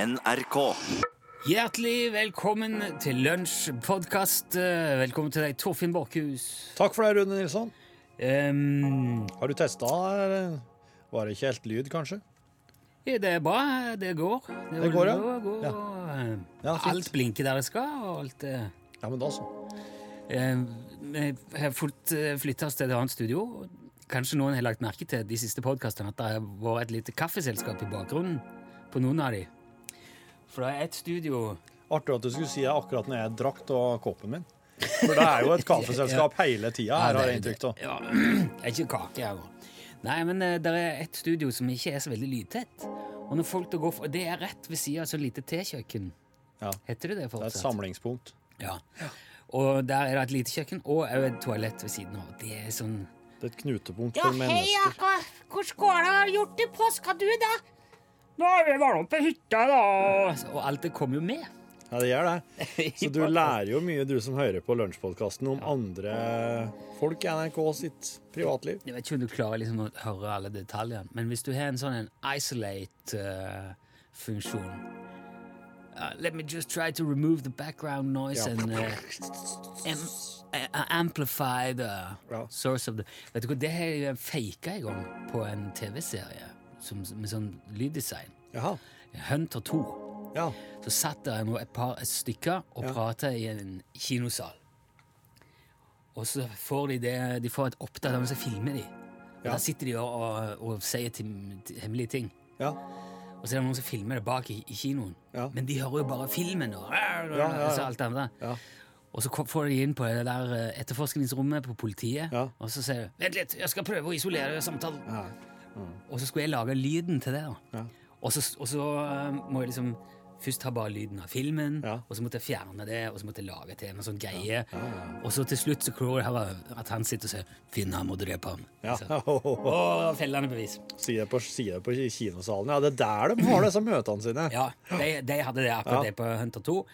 NRK. Hjertelig velkommen til lunsjpodkast. Velkommen til deg, Torfinn Borchhus. Takk for det, Rune Nilsson. Ehm, Har du testa? Var det ikke helt lyd, kanskje? ja, det er bra. Det går. Det, går, ja. går, går, Ja. og, eh, Ja, fint. alt blinker der det skal, og alt eh, Ja, men da så. eh, Vi har eh, flytta oss til et annet studio. og Kanskje noen har lagt merke til de siste podkastene at det har vært et lite kaffeselskap i bakgrunnen på noen av de. For det er ett studio Artig at du skulle si det akkurat når jeg drakk av kåpen min. For det er jo et kaffeselskap hele tida her, har jeg inntrykk av. Ja, det er ikke kake her. også. Nei, men det er et studio som ikke er så veldig lydtett. Og når folk da går for, Det er rett ved sida av så lite tekjøkken. Ja, det Heter det det er et fortsatt? samlingspunkt. ja. Og der er det et lite kjøkken og også et toalett ved siden av. Det er sånn Det er et knutepunkt Ja, for hei, mennesker. Jakob. Hvordan går det? Har du gjort i påska, du, da? Nå er vi bare på hytta, da! Altså, Og alt det kommer jo med. Ja, det gjør det. Så du lærer jo mye, du som hører på lunsjpodkasten, om andre folk i NRK sitt privatliv. Jeg vet ikke om du klarer liksom å høre alle detaljene, men hvis du har en sånn en isolate-funksjon uh, Let me just try to remove the background noise Ja. and eh, am, eh, amplify the Ja. source of the Vet du hva, det har jeg faka en gang på en TV-serie som- med sånn lyddesign. Jaha. Hunter 2. Ja. Så satt der nå et par stykker og Ja. prata i en kinosal. Og så får de det De får et oppdrag, og så filmer de. Og Ja. Der sitter de og, og, og sier tim- t- hemmelige ting. Ja. Og så er det noen som filmer det bak i, i kinoen. Ja. Men de hører jo bare filmen og, ja, ja. og så alt det andre. Ja. Og så kom- får de inn på det der eh, etterforskningsrommet på politiet, Ja. og så sier de 'Vent litt, jeg skal prøve å isolere samtalen'. Ja. Og så skulle jeg lage lyden til det. da. Ja. Og så, og så eh, må jeg liksom først ha bare lyden av filmen, Ja. og så måtte jeg fjerne det, og så måtte jeg lage til en sånn greie. Og så til slutt så klarer jeg her at han sitter og sier 'Finn ham og drep ham'. ja. Så- Og fellende bevis. Si det på, si det på kinosalen. Ja, det er der de har disse møtene sine. Ja, de, de hadde det akkurat Ja. det på Hunter 2.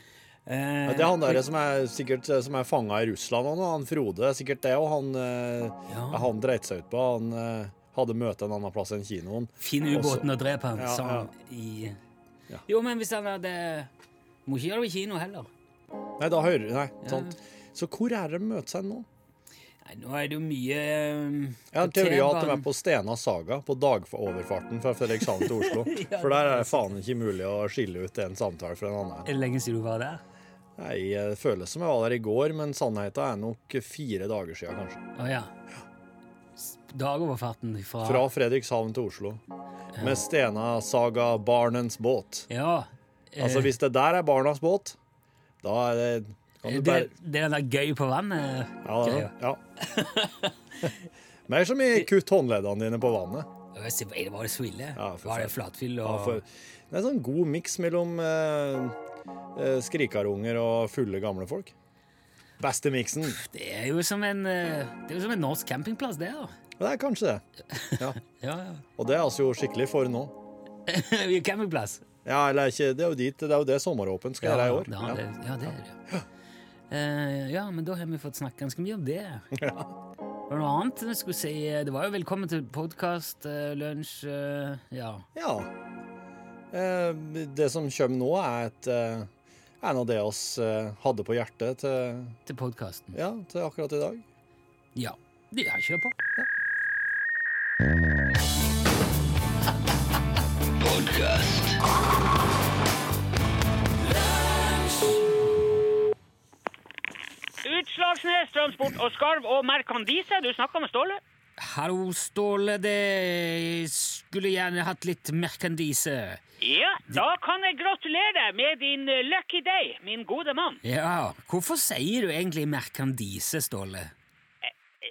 Eh, Ja, Det er han der som er sikkert eh, som er fanga i Russland og nå, han Frode. er Sikkert det, og han, eh, Ja. han dreit seg ut på. Han eh, hadde møte en annen plass enn kinoen. Finn ubåten og drep ham, Ja, sa han i Ja. Jo, men hvis han hadde Må ikke gjøre det i kino heller. Nei, da hører Nei, sant. Så hvor er det de møter seg nå? Nei, nå er det jo mye eh, Jeg har en teori om at de er på Stena Saga, på dagoverfarten fra Fredrikshavn til Oslo. For der er det faen ikke mulig å skille ut en samtale fra en annen. Er det lenge siden du var der? Nei, Det føles som jeg var der i går, men sannheten er nok fire dager siden, kanskje. Å ja. Dagoverfarten fra, Fra Fredrikshavn til Oslo. Med Stena Saga Barnens båt. Ja. eh, Altså, hvis det der er barnas båt, da er det kan du det, bare, det er den der gøy på vannet. ja, da, greia. ja. Mer som i kutt håndleddene dine på vannet. Og jeg sier, "Ei, det var det så ille? Ja, for var det faen. flatfyll Ja, og for, det er en sånn god miks mellom eh, eh, skrikarunger og fulle gamle folk. Beste miksen. Det er jo som en eh, Det er jo som en norsk campingplass, det, da. Det er kanskje det. Ja. Ja, ja. Og det er altså jo skikkelig for nå. Vi er campingplass. Ja, eller ikke, det er jo dit, det er jo det sommeråpent skal gjøre i år. Ja, det, Ja. ja, det er det. Eh, ja, men da har vi fått snakke ganske mye om det. Var det noe annet jeg skulle si? Det var jo velkommen til podkast, lunsj eh, Ja. Ja. Eh, det som kommer nå, er et eh, er noe det oss eh, hadde på hjertet til Til podkasten. Ja, til akkurat i dag. Ja. ja. Kjør på. Utslagsnes Transport og Skarv og Merkandise. Du snakka med Ståle? Hallo, Ståle. Det skulle gjerne hatt litt merkandise. Ja, da kan jeg gratulere deg med din eh, lucky day, min gode mann. Ja, hvorfor sier du egentlig merkandise, Ståle? Eh,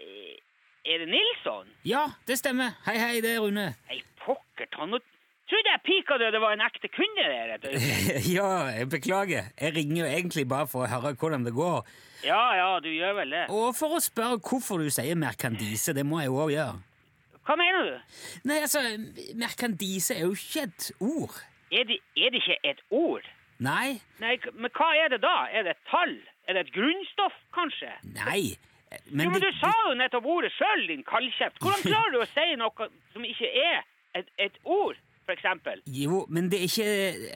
Er det Nilsson? Ja, det stemmer. Hei, hei, det er Rune. Nei, pokker ta nå Trodde jeg pika det, det var en ekte kunde der. et øyeblikk. ja, jeg beklager. Jeg ringer jo egentlig bare for å høre hvordan det går. Ja ja, du gjør vel det. Og for å spørre hvorfor du sier merkandise. Det må jeg jo òg gjøre. Hva mener du? Nei, altså, merkandise er jo ikke et ord. Er det, er det ikke et ord? Nei. Nei, k- men hva er det da? Er det et tall? Er det et grunnstoff, kanskje? Nei. Jo, men det- du sa jo nettopp ordet sjøl, din kaldkjeft. Hvordan klarer du å si noe som ikke er et, et ord? For f.eks. Jo, men det er ikke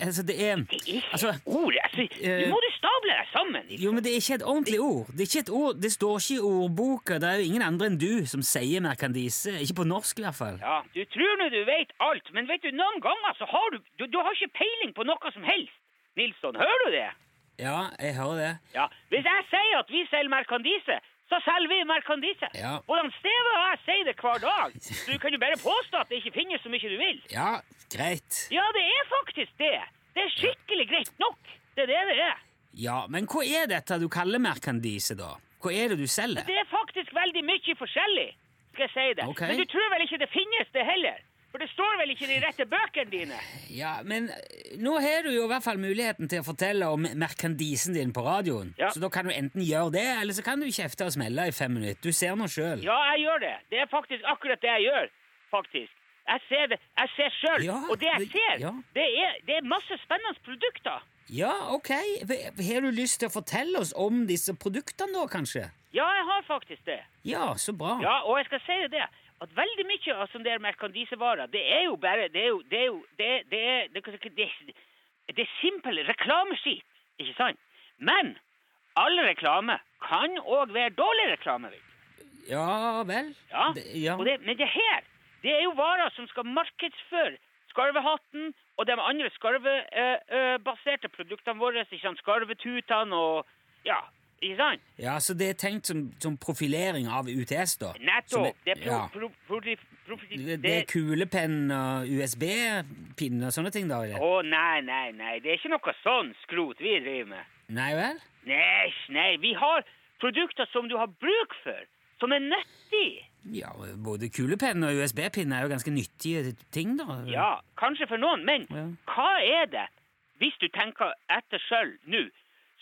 Altså, det er Det er ikke Altså, ord. Altså, eh, nå må du stable deg sammen. jo, men det er ikke et ordentlig ord. Det, er ikke et ord. det står ikke i ordboka. Det er jo ingen andre enn du som sier merkandise. Ikke på norsk, i hvert fall. Ja, Du tror nå du vet alt, men vet du, noen ganger så har du, du Du har ikke peiling på noe som helst. Nilsson, hører du det? Ja, jeg hører det. Ja, Hvis jeg sier at vi selger merkandise, så selger vi merkandise. Ja. Hvordan Steve og jeg sier det hver dag. Så du kan jo bare påstå at det ikke finnes så mye du vil. Ja, greit. Ja, det er faktisk det. Det er skikkelig greit nok. Det er det det er. Ja, men hva er dette du kaller merkandise, da? Hva er det du selger? Det er faktisk veldig mye forskjellig, skal jeg si det. Ok. Men du tror vel ikke det finnes det heller? For det står vel ikke i de rette bøkene dine? Ja, men eh, nå har du jo i hvert fall muligheten til å fortelle om merkandisen din på radioen. Ja. Så da kan du enten gjøre det, eller så kan du kjefte og smelle i fem minutter. Du ser nå sjøl. Ja, jeg gjør det. Det er faktisk akkurat det jeg gjør, faktisk. Jeg ser det, jeg ser sjøl, Ja, og det jeg det- ser, ja. det, er, det er masse spennende produkter. ok. Har du lyst til å fortelle oss om disse produktene da, kanskje? Ja, jeg har faktisk det. Ja, så bra. Ja, og jeg skal si deg det, at veldig mye av sånne der merkandisevarer, det er jo bare, det er jo, det er jo, det, det er, det, det, det, det er simpel reklameskit, ikke sant? Men all reklame kan også være dårlig reklame, vet du. Ja vel. Ja, Det, ja. Og det, men det her, det er jo varer som skal markedsføre skarvehatten og de andre skarvebaserte produktene våre, ikke sant, skarvetutene og, ja, ikke sant? ja, Så det er tenkt som, som profilering av UTS, da? Som Nettopp, er- det er pro, ja. pro, pro, pro, det, det er kulepenn og USB-pinne og sånne ting, da? Eller? Å, nei, nei, nei. Det er ikke noe sånn skrot vi driver med. Nei vel? Nei, nei. Vi har produkter som du har bruk for, som er nyttige. Ja, både kulepenn og USB-pinne er jo ganske nyttige ting, da. Ja, kanskje for noen, men Ja. hva er det, hvis du tenker etter sjøl nå,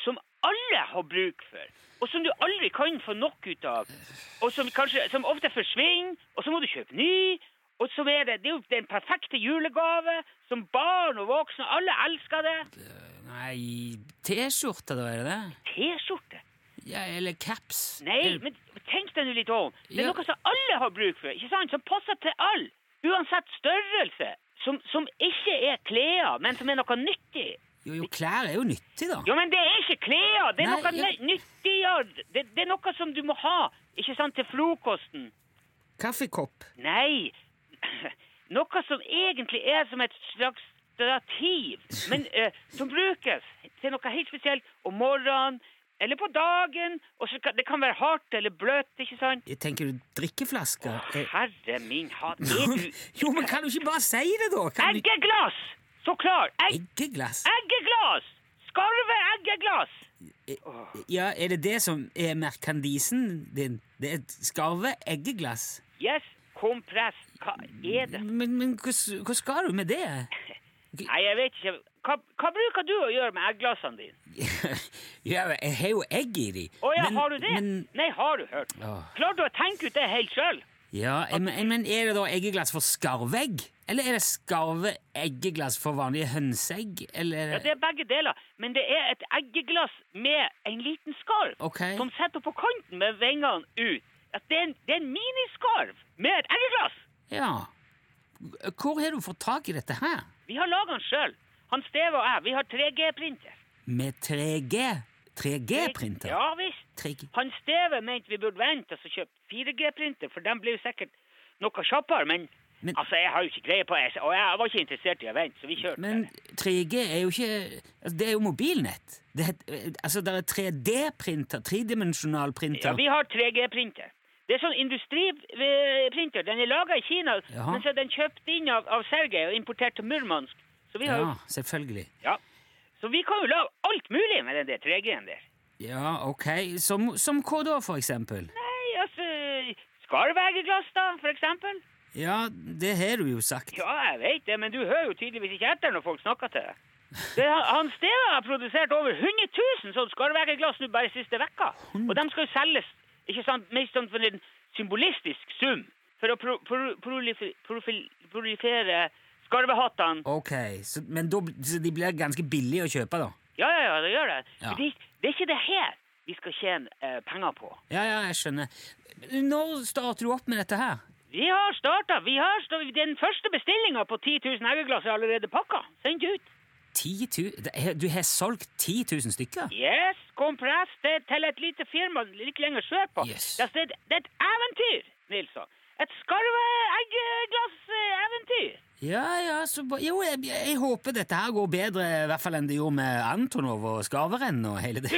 som alle har bruk for, og som du aldri kan få nok ut av, og som kanskje som ofte forsvinner, og så må du kjøpe ny, og så er det, det er jo den perfekte julegave, som barn og voksne, alle elsker det. Nei, T-skjorte, da, er det det? T-skjorte. Ja, eller caps? Eh, Nei, Eller- men tenk deg nå litt om. Det er Ja. noe som alle har bruk for, ikke sant? Som passer til alle, uansett størrelse. Som, som ikke er klær, men som er noe nyttig. Jo, jo, klær er jo nyttig, da. Jo, men det er ikke klær! Det er Nei, noe ja. ny- nyttigere. Det, det er noe som du må ha, ikke sant, til frokosten. Kaffekopp. Nei, noe som egentlig er som et slags stativ, men eh, som brukes til noe helt spesielt om morgenen, eller på dagen, og så kan, det kan være hardt eller bløtt, ikke sant? Jeg tenker du drikkeflasker? Eh, Herre min hatt, er du jo, men kan du ikke bare si det, da? Kan du... Eggeglass! Så klar! Egg, Eggeglass? eggeglass! Skarve eggeglass! Ja, er det det som er merkandisen din? Det er et skarve eggeglass? Yes, kompress. Hva er det? Men, men hva, s- hva skal du med det? Nei, jeg vet ikke. Hva, hva bruker du å gjøre med egglassene dine? ja, jeg har jo egg i de. Å ja, Men- har du det? Men, Nei, har du hørt? Åh. Klarer du å tenke ut det helt sjøl? ja, eh, men, eh, men er det da eggeglass for skarvegg? Eller er det skarve eggeglass for vanlige hønseegg? Eller Ja, det er begge deler, men det er et eggeglass med en liten skarv Ok. som setter på kanten med vingene ut. Ja, det, er en, det er en miniskarv med et eggeglass! Ja. Hvor har du fått tak i dette her? Vi har laga den sjøl. Han Steve og jeg, vi har 3G-printer. Med 3G? 3G-printer? Ja visst. 3G. Han Steve mente vi burde vente og så kjøpe 4G-printer, for den blir jo sikkert noe kjappere. Men, Men- altså, jeg har jo ikke greie på det, og jeg var ikke interessert i å vente, så vi kjørte. Men 3G er jo ikke altså, Det er jo mobilnett. Det er, altså, det er 3D-printer. Tredimensjonal printer. Ja, vi har 3G-printer. Det er sånn industriprinter. Den er laga i Kina, Jaha. men så er den kjøpt inn av, av Sergej og importert til Murmansk. Så vi, har, Ja, jo- selvfølgelig. ja. så vi kan jo lage alt mulig med den der 3G-en der. Ja, ok. Som, som hva da, for eksempel? Nei, altså Skarvegeglass, da, for eksempel. Ja, det har du jo sagt. Ja, jeg vet det, men du hører jo tydeligvis ikke etter når folk snakker til deg. Det, han- han Steve har produsert over 100 000 sånn skarvegeglass nå bare siste vekka. Og de skal jo selges ikke sant, mest sånn for en symbolistisk sum for å pro, pro, prolifer- profil- prolifere skarvehattene. Ok, så, men da, bl- så de blir ganske billige å kjøpe, da? Ja, ja, ja, det gjør det. Ja. Men Det, det er ikke det her vi skal tjene eh, penger på. Ja, ja, jeg skjønner. Når starter du opp med dette her? Vi har starta. Vi har sta- den første bestillinga på 10 000 eggeglass er allerede pakka. Sendt ut. 10 000? Det er- Du har solgt 10 000 stykker? Yes, kompress det er til et lite firma litt lenger sørpå. Yes. Det, er- det, er et eventyr, Nilsson. Et eh, skarve-eggeglass-eventyr. Ja, ja, så ba... Jo, jeg, jeg håper dette her går bedre i hvert fall enn det gjorde med Antonov og Skarverenn og hele det.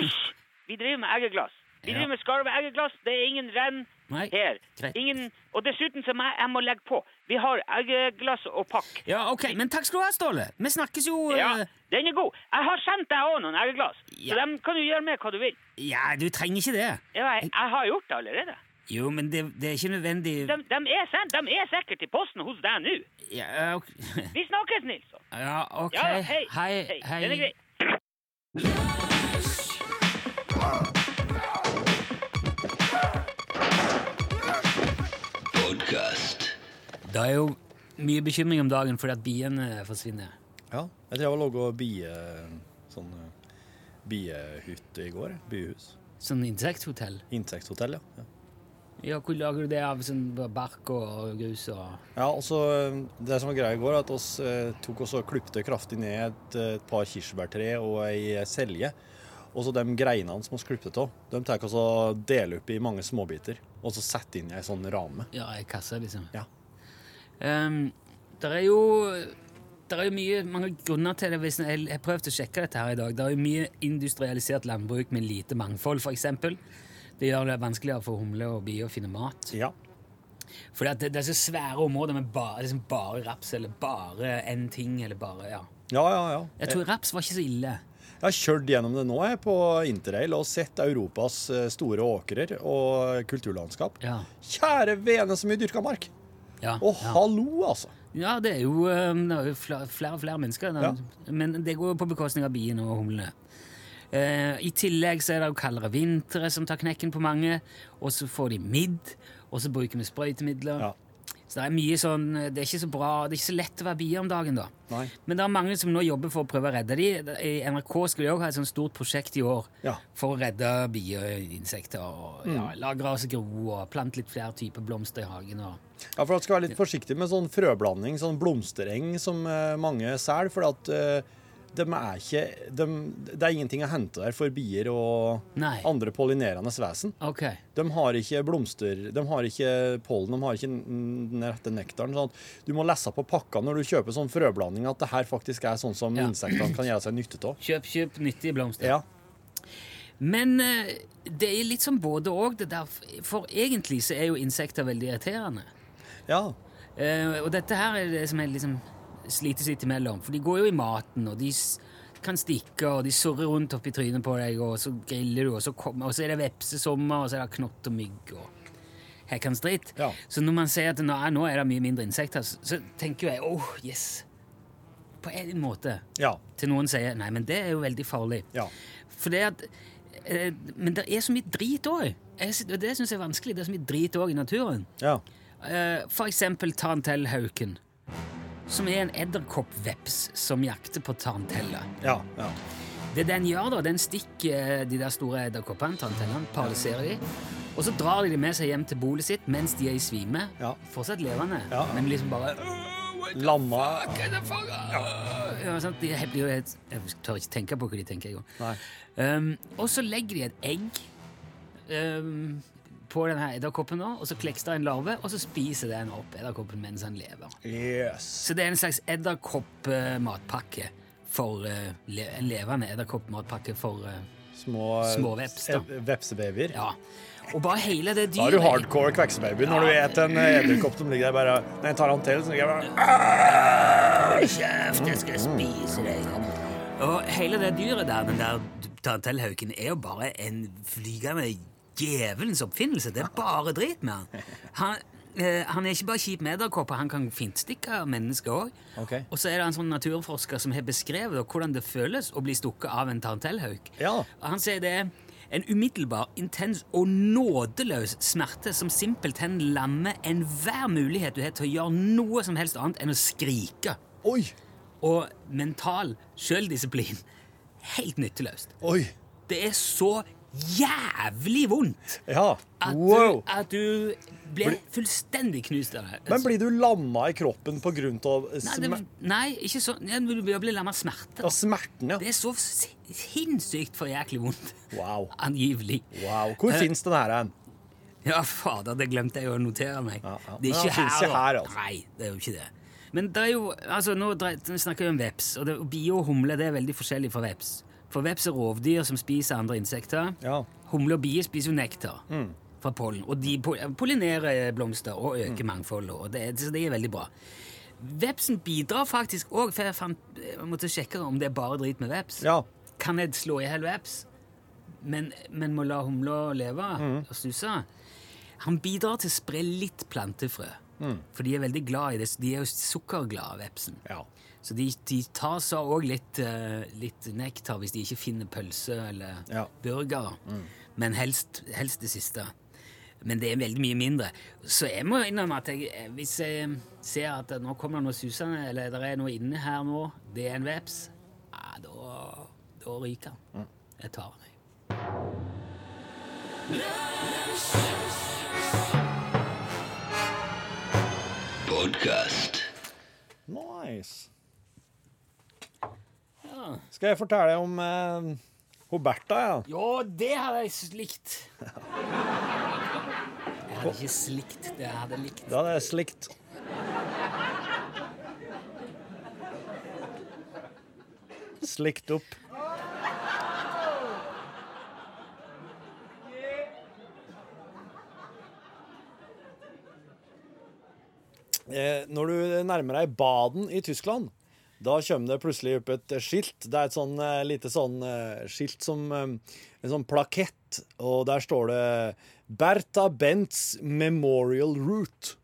Vi driver med eggeglass. Vi Ja. driver med skarve-eggeglass. Det er ingen renn Nei, her. greit. Ingen, og dessuten så må jeg, jeg må legge på. Vi har eggeglass og pakk. Ja, ok, men takk skal du ha, Ståle. Vi snakkes jo eh, Ja, den er god. Jeg har sendt deg òg noen eggeglass, Ja. så dem kan du gjøre med hva du vil. ja, du trenger ikke det. Ja, jeg, jeg har gjort det allerede. Jo, men det, det er ikke nødvendig De, de, er sendt, de er sikkert i posten hos deg nå. Ja, ok. Vi snakkes, Nilsson. Ja, ok. Ja, hei. Hei, hei. Den er grei. Det er jo mye bekymring om dagen fordi at biene forsvinner. Ja, jeg tror jeg var laga bie... Sånn eh, biehytte i går. jeg. Biehus. Sånn insekthotell. Insekthotell, ja. ja. Ja, hvor lager du det av sånn bark og grus og Ja, altså, Det som var greia i går, er at oss eh, tok oss og klipte kraftig ned et, eh, et par kirsebærtre og ei selje. Og så de greinene som vi klipte av, de tar oss og deler opp i mange småbiter. Og så setter inn i ei sånn rame. Ja, ei kasse, liksom. Ja. Ehm, der er jo der er jo mye, mange grunner til det. Hvis jeg jeg har prøvd å sjekke dette her i dag. Det er jo mye industrialisert landbruk med lite mangfold, f.eks. Det gjør det vanskeligere for humler og bier å finne mat. Ja. Fordi at det, det er så svære områder med bare, liksom bare raps eller bare én ting. eller bare, ja. Ja, ja, ja. Jeg tror raps var ikke så ille. Jeg har kjørt gjennom det nå jeg, på interrail og sett Europas eh, store åkrer og kulturlandskap. Ja, Kjære vene, så mye dyrka mark! ja, Og ja. hallo, altså! ja det er jo, ehm, det er jo fla- flere og flere mennesker. da. Ja. Men det går jo på bekostning av biene og humlene. Eh, I tillegg så er det jo kaldere vintre som tar knekken på mange. Og så får de midd, og så bruker vi sprøytemidler. Ja. Så det er mye sånn, det er ikke så bra, det er ikke så lett å være bie om dagen, da. Nei. Men det er mange som nå jobber for å prøve å redde de. I NRK skulle de òg ha et sånt stort prosjekt i år Ja. Mm. for å redde bier og insekter. og ja, Lagre oss gro og plante litt flere typer blomster i hagen. og... Ja, for at skal være litt forsiktig med sånn frøblanding, sånn blomstereng som eh, mange selger, for at eh, de er ikke, de, det er ingenting å hente der for bier og Nei. andre pollinerende vesen. Ok. De har ikke blomster, de har ikke pollen, de har ikke n- den rette nektaren. sånn at Du må lese på pakka når du kjøper sånn frøblanding at det her faktisk er sånn som Ja. insektene kan gjøre seg nytte av. Kjøp, kjøp nyttige blomster. Ja. Men eh, det er litt som både og det der. For egentlig så er jo insekter veldig irriterende. ja. Eh, og dette her er det som jeg liksom slites litt imellom. For de går jo i maten, og de s- kan stikke, og de surrer rundt oppi trynet på deg, og så griller du, og så, kommer, og så er det vepsesommer, og så er det knott og mygg og hekkans dritt. Ja. Så når man sier at nå, er- nå er det mye mindre insekter, så, så tenker jo jeg åh, yes. På en måte. Ja. Til noen sier nei, men det er jo veldig farlig. Ja. For det at eh, Men det er så mye drit òg. Det syns jeg er vanskelig. Det er så mye drit òg i naturen. Ja. Eh, For eksempel tarantellhauken, som er en edderkoppveps som jakter på taranteller. Ja. ja. Det den gjør, da, den stikker eh, de der store edderkoppene, tarantellene, paralyserer de, og så drar de de med seg hjem til bolet sitt mens de er i svime. Ja. Fortsatt levende, Ja. men liksom bare Lamma ja, sant? De er- blir jo helt, Jeg tør ikke tenke på hva de tenker engang. Nei. Um, og så legger de et egg um, på denne edderkoppen, nå, og så klekkes det en larve, og så spiser den opp edderkoppen mens han lever. Yes. Så det er en slags edderkoppmatpakke for eh, le En levende edderkoppmatpakke for eh, Små, Små veps, da. eh, Vepsebabyer. Ja. Og bare hele det Da er du dyret hardcore kveksebaby når du vet en eh, edderkopp som ligger der bare Nei, en tarantell som ligger der bare Kjeft, jeg skal spise deg! Og hele det dyret der, den der tarantellhauken, er jo bare en flygende djevelens oppfinnelse. Det er bare drit med han. Han, eh, han er ikke bare kjip med edderkopper, han kan fintstikke mennesker òg. Ok. Og så er det en sånn naturforsker som har beskrevet hvordan det føles å bli stukket av en tarantellhauk. Ja. Og Han sier det er en umiddelbar, intens og nådeløs smerte som simpelthen lammer enhver mulighet du har til å gjøre noe som helst annet enn å skrike. Oi! Og mental sjøldisiplin. Helt nytteløst. Oi! Det er så jævlig vondt Ja. at, Wow. du, at du ble fullstendig knust av det. Altså, Men blir du lamma i kroppen pga. Nei, det, nei, ikke sånn. Ja, Du blir lammet av smerte. smerten? Ja. Det er så si- sinnssykt for jæklig vondt. Wow. Angivelig. wow. Hvor Eh, fins den her hen? Ja, fader, det glemte jeg å notere meg. Ja, ja. Det er Men ikke han her, finnes ikke her, da. altså. Nei, det er jo ikke det. Men det er jo, altså, nå, dre- nå snakker vi om veps, og, det, og bio og humle det er veldig forskjellig fra veps. For veps er rovdyr som spiser andre insekter. Ja. Mm. Humle og bier spiser jo nektar fra pollen, og de po- pollinerer blomster og øker Mm. mangfoldet, og det, er- så det er veldig bra. Vepsen bidrar faktisk òg, for jeg, fant, jeg måtte sjekke om det er bare drit med veps. ja. Kan jeg slå i hjel veps, men, men må la humla leve og suse? Han bidrar til å spre litt plantefrø, for de er veldig glad i det. De er jo sukkerglade, vepsen. ja. Så de, de tar seg òg litt, eh, litt nektar hvis de ikke finner pølse eller Ja. burger. Men helst, helst det siste. Men det er veldig mye mindre. Så jeg må innrømme at jeg, eh, hvis jeg ser at det- nå kommer det noe susende, eller det er noe inne her nå, det er en veps, ja, da, da ryker han. Jeg tar den. jeg. Nice. Skal jeg fortelle om eh, hun Bertha, ja? Ja, det hadde jeg slikt! Jeg hadde ikke slikt det jeg hadde likt. Det hadde jeg slikt. Slikt opp. Eh, Når du nærmer deg Baden i Tyskland, da kommer det plutselig opp et skilt. Det er et sånn eh, lite sånn eh, skilt som eh, En sånn plakett, og der står det Bertha Bentz Memorial Route.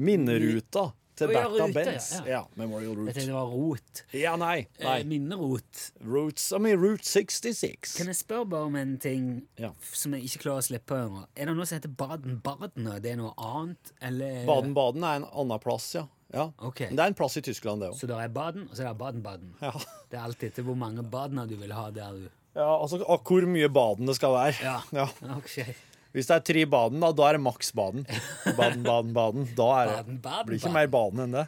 Minneruta til Å, ja, Bertha rute, Bentz. ja, ja. Ja, Memorial Jeg tenkte Route. det var rot. Ja, nei. Eh, nei. Minnerot. Routes, I mean, Route 66. Kan jeg spørre bare om en ting Ja. f- som jeg ikke klarer å slippe over? Er det noe som heter Baden-Baden, og det er noe annet? Eller? Baden-Baden er en annen plass, ja. ja. Ok. Men Det er en plass i Tyskland, det òg. Så det er Baden, og så er det Baden-Baden. Ja. Det er alt etter hvor mange badener du vil ha der du ja, altså ak- hvor mye Baden det skal være. Ja. Ja. Ok. Hvis det er tre Baden, da, da er det maks Baden. Baden, Baden, Baden. Da er det Baden, Baden, blir ikke Baden. mer Baden enn det.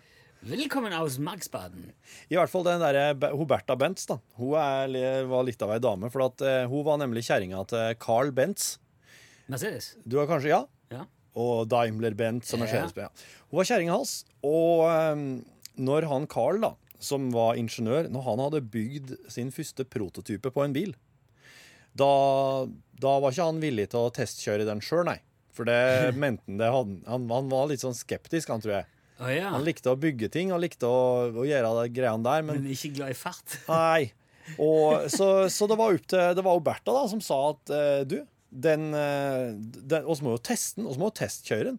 Velkommen aus Max-Baden. I hvert fall den derre Be- hun Bertha Bentz, da. Hun er, li- var litt av ei dame, for at, eh, hun var nemlig kjerringa til Carl Bentz. Mercedes? Du har kanskje Ja? Ja. og Daimler Bent, som er Ja. sjefsbe- Ja. Hun var kjerringa hans. Og ehm, når han Carl, da, som var ingeniør, når han hadde bygd sin første prototype på en bil, da, da var ikke han villig til å testkjøre den sjøl, nei. For det mente han det han, han, han var litt sånn skeptisk, han tror jeg. Å ja. Han likte å bygge ting, han likte å, å gjøre de greiene der, men Men ikke glad i fart? Nei. Og, så, så det var opp til Det var jo Bertha da, som sa at eh, du, den, eh, den Og så må jo teste den, og så må jo testkjøre den.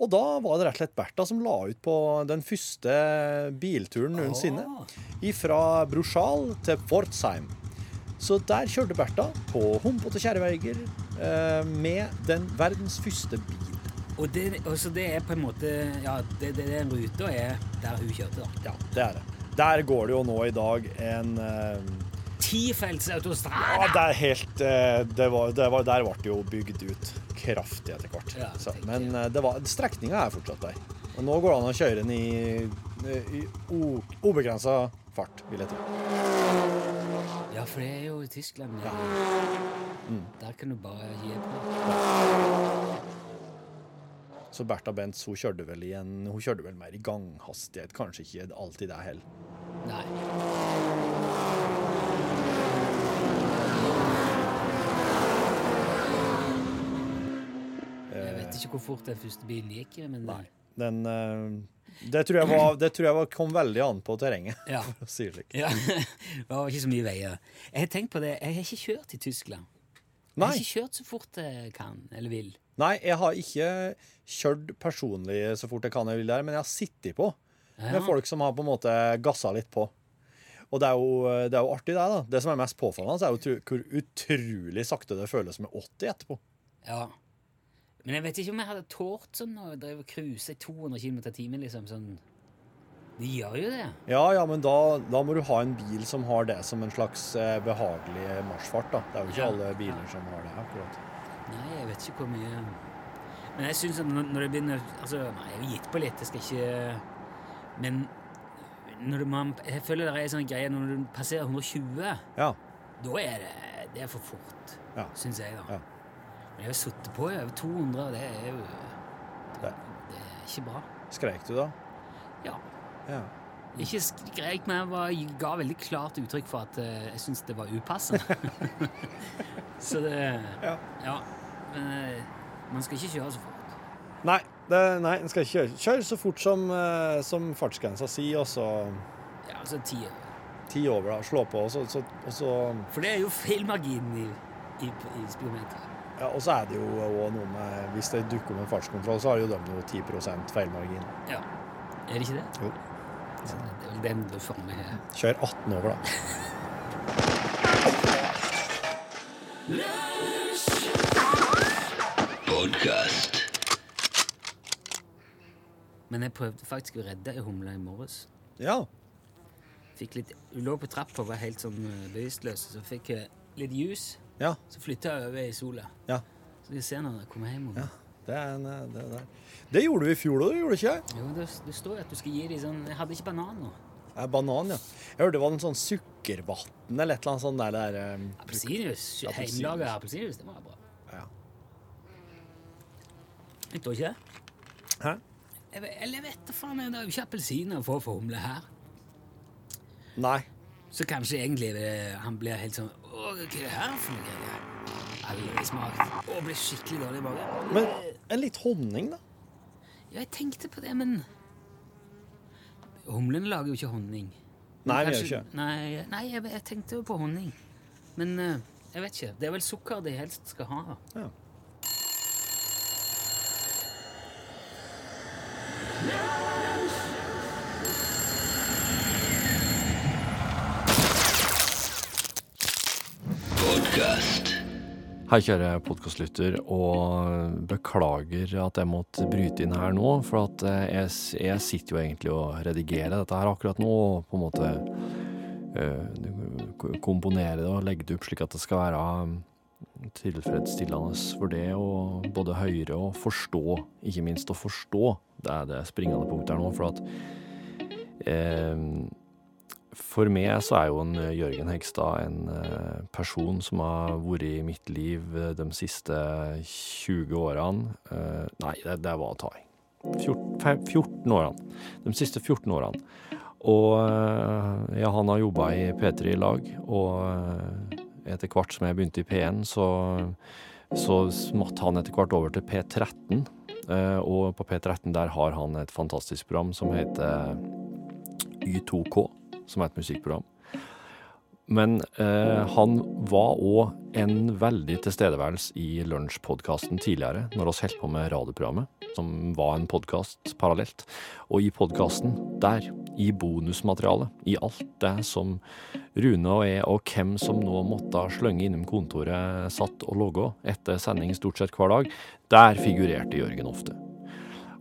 Og da var det rett og slett Bertha som la ut på den første bilturen noensinne. Fra Bruchal til Pforzheim. Så der kjørte Bertha på humpete kjerreveier eh, med den verdens første bil. Og, det, og så det er på en måte Ja, det, det, den ruta er der hun kjørte, da. Ja, det er det. Der går det jo nå i dag en eh, Tifelts Ja, autostrada! det er helt eh, det var, det var, Der ble det jo bygd ut kraftig etter hvert. Ja, så, tenker men eh, det var, strekninga er fortsatt der. Og nå går det an å kjøre den i, eh, i o- ubegrensa fart, vil jeg tro. Ja, for det er jo i Tyskland. Ja. Der kan du bare gi på. Så Bertha Bentz hun kjørte vel i en, hun kjørte vel mer i ganghastighet. Kanskje ikke alltid det heller. Nei. Jeg vet ikke hvor fort den første bilen gikk, men Den, eh, det tror jeg, var, det tror jeg var, kom veldig an på terrenget. Ja. for å si det slik. ja. det var ikke så mye veier. Jeg har tenkt på det, jeg har ikke kjørt i Tyskland. Jeg Nei, har ikke kjørt så fort jeg kan eller vil. nei, jeg har ikke kjørt personlig så fort jeg kan, jeg vil der, men jeg har sittet på. Ja. med folk som har på en måte gassa litt på. Og det er jo, det er jo artig, det. da. Det som er mest påfallende, er jo tru- hvor utrolig sakte det føles med 80 etterpå. Ja. Men jeg vet ikke om jeg hadde tålt sånn å drive og cruise i 200 km i timen, liksom. Sånn. De gjør jo det. Ja, ja, men da, da må du ha en bil som har det som en slags eh, behagelig marsjfart, da. Det er jo ikke Ja. alle biler som har det, akkurat. Nei, jeg vet ikke hvor mye Men jeg syns at når når det begynner Altså, nei, jeg har gitt på litt, jeg skal ikke Men når man, jeg føler det er en sånn greie når du passerer 120, Ja. da er det, det er for fort, Ja. syns jeg, da. Ja. Men jeg har sittet på i over 200, og det er jo Det. Det er ikke bra. Skreik du da? Ja. Ja. Ikke skrek, men jeg var, ga veldig klart uttrykk for at eh, jeg syntes det var upassende. så det Ja. Men eh, man skal ikke kjøre så fort. Nei, det, nei, en skal ikke kjøre. Kjør så fort som, eh, som fartsgrensa sier, og så Ja, altså ti år. ti over, da. Slå på, og så, så, og så For det er jo feilmarginen i, i, i speedometeret. Ja, og så er det jo også noe med Hvis det dukker opp en fartskontroll, så har jo de noe 10 feilmargin. Ja. Er det ikke det? Jo. Så det er vel den du får med her. Kjør 18 over, da. Men jeg prøvde faktisk å redde ei humle i morges. Ja. Fikk litt, Hun lå på trappa og var helt sånn eh, bevisstløs, så fikk jeg litt jus. Ja. Så flytta jeg over i sola. Ja. Så skal jeg se når jeg kommer hjem. om- Det, er en, eh, det, der. det gjorde du i fjor òg, gjorde du ikke? Jo, det, det står jo at du skal gi dem sånn Jeg hadde ikke bananer. Eh, Banan, ja. Jeg hørte det var en sånn sukkervann eller et eller annet sånt der. det er, eh, Appelsinjuice. Appelsinjuice. Hjemmelaga appelsinjuice, det var bra. Ja. Jeg tror ikke det. Hæ? Jeg vet- Eller jeg vet da faen, jeg, det er jo ikke appelsiner å få for humle her. Nei. Så kanskje egentlig eh, han blir helt sånn Å, hva er det her for noe greier? Aldri smakt. Og blir skikkelig dårlig i magen. Men en litt honning, da? Ja, jeg tenkte på det, men Humlen lager jo ikke honning. Nei, vi gjør Kanskje- Nei, nei jeg, jeg tenkte jo på honning. Men eh, jeg vet ikke. Det er vel sukker de helst skal ha. Ja. Hei, kjære podkastlytter, og beklager at jeg måtte bryte inn her nå. For at eh, jeg, s- jeg sitter jo egentlig og redigerer dette her akkurat nå, og på en måte eh, ko- komponere det og legge det opp slik at det skal være eh, tilfredsstillende for det å både høre og forstå. Ikke minst å forstå. Det er det springende punktet her nå, for at eh, for meg så er jo en eh, Jørgen Hegstad en eh, person som har vært i mitt liv eh, de siste 20 årene. Eh, Nei, det, det var å ta i. 14, fe- 14 årene. De siste 14 årene. Og eh, ja, han har jobba i P3 i lag, og eh, etter hvert som jeg begynte i P1, så, så smatt han etter hvert over til P13. eh, Og på P13 der har han et fantastisk program som heter Y2K som er et musikkprogram. Men eh, han var òg en veldig tilstedeværelse i Lunsjpodkasten tidligere, når oss holdt på med radioprogrammet, som var en podkast parallelt. Og i podkasten, der, i bonusmaterialet, i alt det som Rune og jeg, og hvem som nå måtte slønge innom kontoret, satt og logga etter sending stort sett hver dag, der figurerte Jørgen ofte.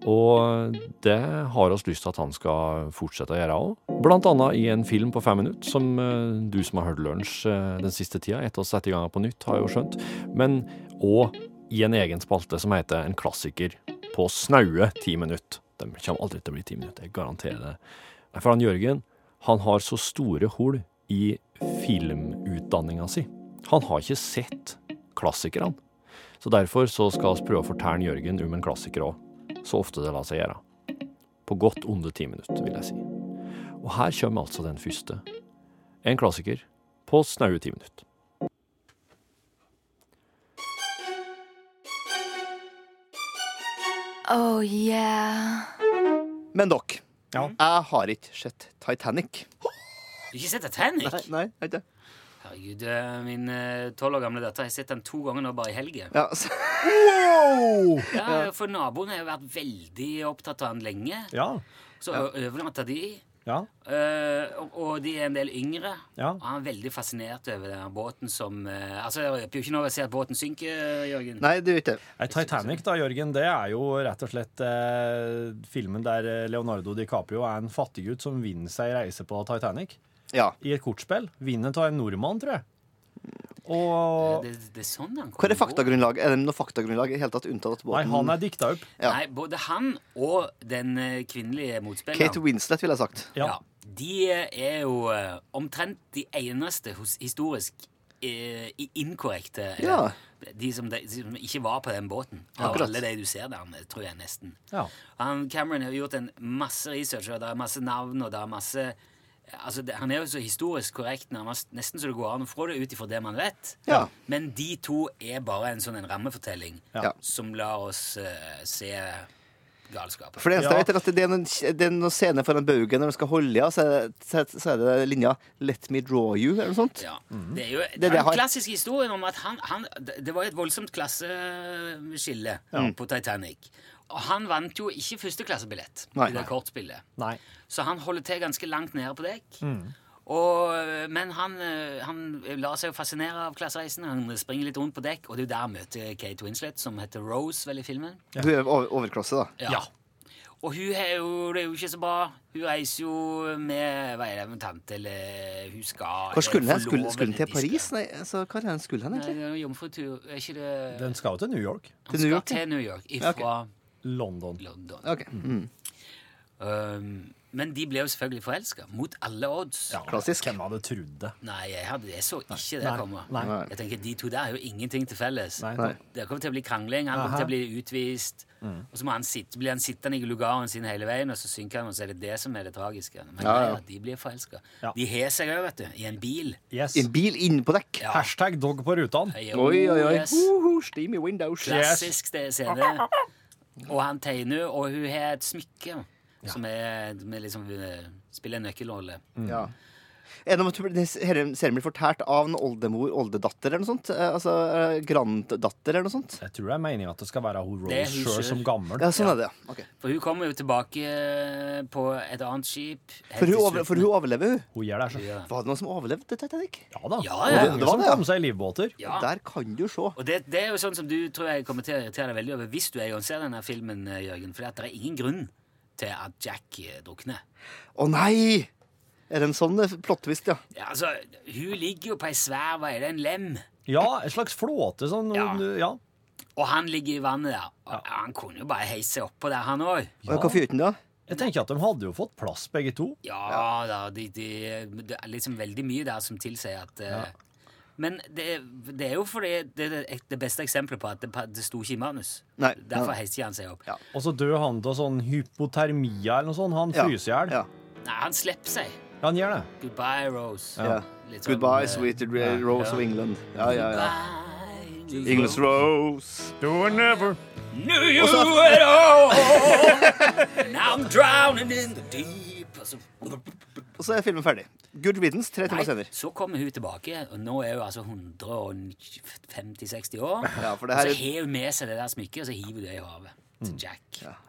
Og det har oss lyst til at han skal fortsette å gjøre òg. Blant annet i en film på fem minutter, som eh, du som har hørt Lunsj eh, den siste tida, etter å sette i gang på nytt, har jo skjønt. Men òg i en egen spalte som heter En klassiker på snaue ti minutter. De kommer aldri til å bli ti minutter, jeg garanterer det. Nei, For han Jørgen, han har så store hull i filmutdanninga si. Han har ikke sett klassikerne. Så derfor så skal vi prøve å fortelle Jørgen om en klassiker òg så ofte det lar seg gjøre. På godt under ti minutter, vil jeg si. Og her kommer altså den første. En klassiker på snaue ti minutter. Oh yeah. Men dere, Ja. jeg har ikke sett Titanic. Du har ikke sett Titanic? Nei, nei, jeg har ikke det. Herregud, eh, min tolv år gamle datter har sett den to ganger nå bare i helgen. Ja, så, Ja, for naboen har jo vært veldig opptatt av den lenge. Ja. Så ja. overnatta de Ja. Eh, og- og de er en del yngre. Ja. Og han er veldig fascinert over den båten som eh, Altså, Det hjelper jo ikke når jeg ser at båten synker, Jørgen. Nei, det gjør ikke det. Nei, Titanic da, Jørgen, det er jo rett og slett eh, filmen der eh, Leonardo DiCaprio er en fattiggutt som vinner seg en reise på Titanic. Ja. I et kortspill. Vinner av en nordmann, tror jeg. Og Det, det er sånn han Hvor kommer er faktagrunnlaget? Er det noe faktagrunnlag i det hele tatt unntatt Nei, båten? han er dikta opp. Ja. Nei, både han og den eh, kvinnelige motspilleren Kate Winslet, ville jeg sagt. Ja. Ja, De er jo eh, omtrent de eneste hos, historisk eh, i- inkorrekte. eh, Ja. De, som de, de som ikke var på den båten. Av Akkurat. alle de du ser der, eh, tror jeg nesten. Ja. Han, Cameron har gjort en masse research, og det er masse navn, og det er masse Altså, det, Han er jo så historisk korrekt nærmest, nesten så det går an å få det ut ifra det man vet. Ja. Men de to er bare en sånn en rammefortelling Ja. som lar oss eh, se galskapen. For det eneste Ja. jeg vet, er at det er, noen, det er noen scene foran baugen når de skal holde av, så, er det- så, er- så er det linja 'Let me draw you', eller noe sånt. Ja. Det er jo Mhm. det den har- klassiske historien om at han, han det- Det var jo et voldsomt klasseskille på Titanic. Og han vant jo ikke førsteklassebillett Nei. i det kortspillet. Nei. Så han holder til ganske langt nede på dekk. Mm. Og, men han, eh, han lar seg jo fascinere av klassereisen. Han springer litt rundt på dekk, og det er jo der han møter Kate Winslet, som heter Rose vel i filmen. Hun er over, overklosset, da. Ja. Og hun er jo, det er jo ikke så bra. Hun reiser jo med hva er det, med tante, eller hun skal Hvor skulle eller han? Skulle, forlovede, skulle han til de skal- Paris? Nei, altså, hva er det han skulle han Nei, det egentlig? er jo jomfrutur. Er ikke det Den skal jo til New York. Han Til New skal York, ja. til New York Ja, ok. ifra London. London. Ok, mm. Um, men de ble jo selvfølgelig forelska, mot alle odds. Ja, Klassisk. Hvem hadde trodd det? Nei, jeg, hadde, jeg så ikke det Nei, komme. nei. Jeg tenker, De to der er jo ingenting til felles. Nei. Nei. Mm. Det kommer til å bli krangling, han kommer til å bli utvist. Og så må han sitte, blir han sittende i lugaren sin hele veien, og så synker han, og så er det det som er det tragiske. Men Ja, ja. nei, de blir forelska. Ja. De har seg òg, vet du, i en bil. Yes. En bil inne på dekk. Ja. Hashtag dog på rutene. Jo, Oi, oi, oi. yes. Uhu, steamy windows. Klassisk det- scene. Og han tegner, og hun har et smykke som er med liksom eh, spiller en nøkkelrolle. Ja. Er det om at du blir- det- herre- Serien blir fortært av en oldemor, oldedatter eller noe sånt? Eh, Altså eh, granddatter eller noe sånt? Jeg tror det er meninga at det skal være hun Det er Rose hun sjøl selv. som gammel. Ja, sånn er det, ja. Ok. For hun kommer jo tilbake eh, på et annet skip. helt For til hun, over, for slutten. hun overlever, hun. Hun gjør det, så. Ja. Var det noen som overlevde Titanic? Ja da. Ja, ja, Mange det var som det, ja. kom seg i livbåter. Ja. Der kan du se. Og det, det er jo sånn som du tror jeg kommer til å irritere deg veldig over hvis du er og ser denne filmen, eh, Jørgen. For det er ingen grunn til at Jack eh, drukner. Å nei! Er det en sånn eh, plottvist, ja? Ja, altså, hun ligger jo på ei svær Hva er det, en lem? Ja, en slags flåte sånn. Ja. Ja. Og han ligger i vannet der. Og, ja, han kunne jo bare heise seg oppå der, han òg. Og Hvorfor gjør den det? da? Jeg tenker at de hadde jo fått plass, begge to. Ja da, de, de, det er liksom veldig mye der som tilsier at eh, Men det, det er jo fordi det er det- det beste eksempelet på at det, det sto ikke i manus. Nei. Derfor Nei. heiser han seg opp. Ja. Og så dør han av sånn hypotermia eller noe sånt. Han Ja. fryser i hjel. Ja. Nei, han slipper seg. Han gjør det. Goodbye, Rose. ja. Litt sånn, eh, Goodbye, sweet re- Rose Ja. of England. Ja, ja, ja. Goodbye, England's Rose. Knew you at all. Now I'm drowning in the deep. Og så, Og så er filmen ferdig. Good riddance tre timer nei, senere. så kommer hun tilbake, og nå er hun altså 150-60 år. Ja, for det Og her så er Mm. har hun med seg det der smykket, og så hiver hun det i havet. Til Jack.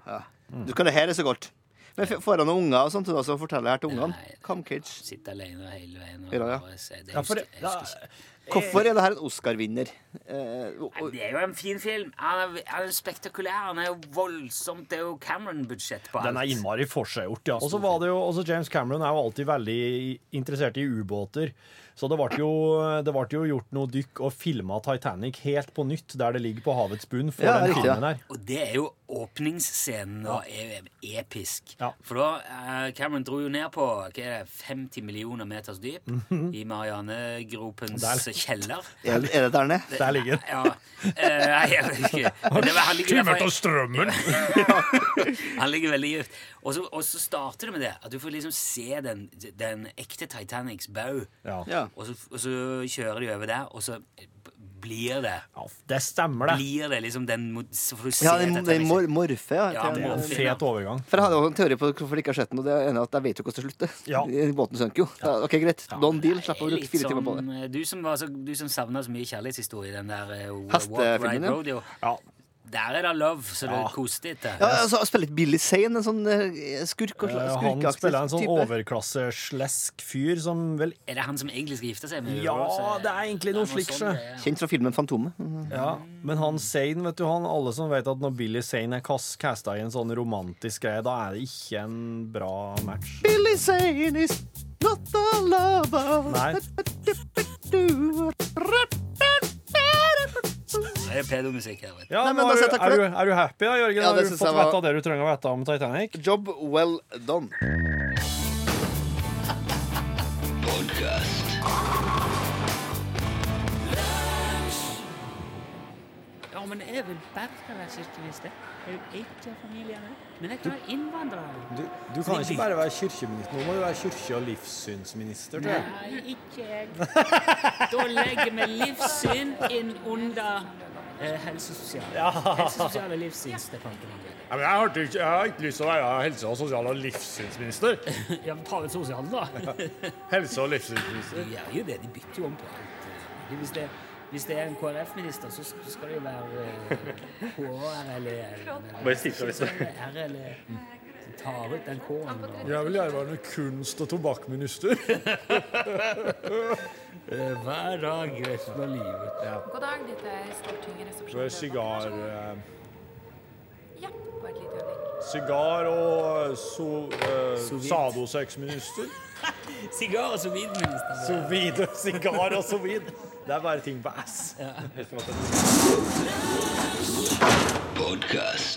ja. Du kan det her er så godt. Men f- får han noen unger og sånt, og så forteller jeg her til ungene. Nei. Come kids. Sitter alene hele veien. Og Ja, ja. bare se- det Ja, husker, for det, jeg da, husker ikke. Hvorfor er det her en Oscar-vinner? Eh, og- Nei, og- det er jo en fin film. Han er, han er spektakulær. Han er jo voldsomt. Det er jo Cameron-budsjett på alt. den er innmari forseggjort, ja. Og så var det jo, også James Cameron er jo alltid veldig interessert i ubåter. Så det ble, jo, det ble jo gjort noe dykk og filma Titanic helt på nytt, der det ligger på havets bunn, for Ja, den riktig, ja. filmen her. Og det er jo åpningsscenen og er jo episk. Ja. For da eh, Cameron dro jo ned på hva er det, 50 millioner meters dyp i Marianegropens Mhm. Der. kjeller. Er, er det der nede? Der ligger den. Ja. Eh, nei, jeg vet ikke. Men det var- han ligger derfor- strømmen! Han ligger veldig dypt. Og så, og så starter det med det. At du får liksom se den, den ekte Titanics bau. Ja. Ja. Og, så, og så kjører de over der, og så blir det ja, det stemmer, det. Blir det liksom den mot- Så får du se Ja, det er- det er Titanic. mor morfe. Ja. Ja, til- Det er en morfe. fet overgang. For jeg hadde jo en teori på hvorfor det ikke har skjedd noe. Det er enig at jeg vet jo hvordan det slutter. Ja. Båten sønker jo. Ja. Ok, greit. Don deal. Slapp å Det er bruke litt fire timer på det. sånn, eh, Du som, var så- du som savna så mye kjærlighetshistorie i den der eh, Walk, Hestefilmen, Ride, ja. Rodeo. Ja. Der er det love, så det Ja. koser deg til. Ja, altså, Spille litt Billy Zane, en sånn eh, skurk og Eh, Han skurkeaktig spiller en sånn type. overklasseslesk fyr som vel Er det han som egentlig skal gifte seg med Ja, henne, så- det er egentlig noe slikt, sånn sjø. det er. Kjent fra filmen Fantomet. Mhm. Ja, men han Zane, vet du han Alle som vet at når Billy Zane er kas- casta i en sånn romantisk greie, da er det ikke en bra match. Billy Zane is not a lover. Nei. Det er pedomusikk her, vet du. Ja, Nei, men da nå er, sier jeg du, takk er, for du, er du happy, da, Jørgen? Ja, det har du synes fått jeg var... var- vite det du trenger å vite om Titanic? Job well done. Ja, men jeg vil bare være kirkeminister. Jeg vil ikke familien min. Men jeg kan være innvandrer. Du, du kan ikke bare være kirkeminister, nå må du være kirke- og livssynsminister. Tror jeg. Nei, ikke jeg. Da legger vi livssyn inn under eh, helse- og sosial- Helse- og sosiale livssynsdepartementet. Ja, men jeg, har ikke, lyst til å være helse- og sosial- og livssynsminister. Ja, men ta ut sosialen, da. Helse- og livssynsminister. De gjør jo det. De bytter jo om på alt. Hvis det, hvis det er en KrF-minister, så sk- skal det jo være eh, HR eller Bare sitte og liksom R eller De tar ut den K-en. da. Jeg vil gjerne være kunst- og tobakksminister. Eh, Hver dag resten av livet. God dag, dette er Stortinget-resepsjonen. Sigar, eh, Ja, bare et lite øyeblikk. sigar og so, eh, Soviet. sadosexminister. Sigar og sovidminister. Sovid og sigar og sovid. Det er bare ting på S. Podcast.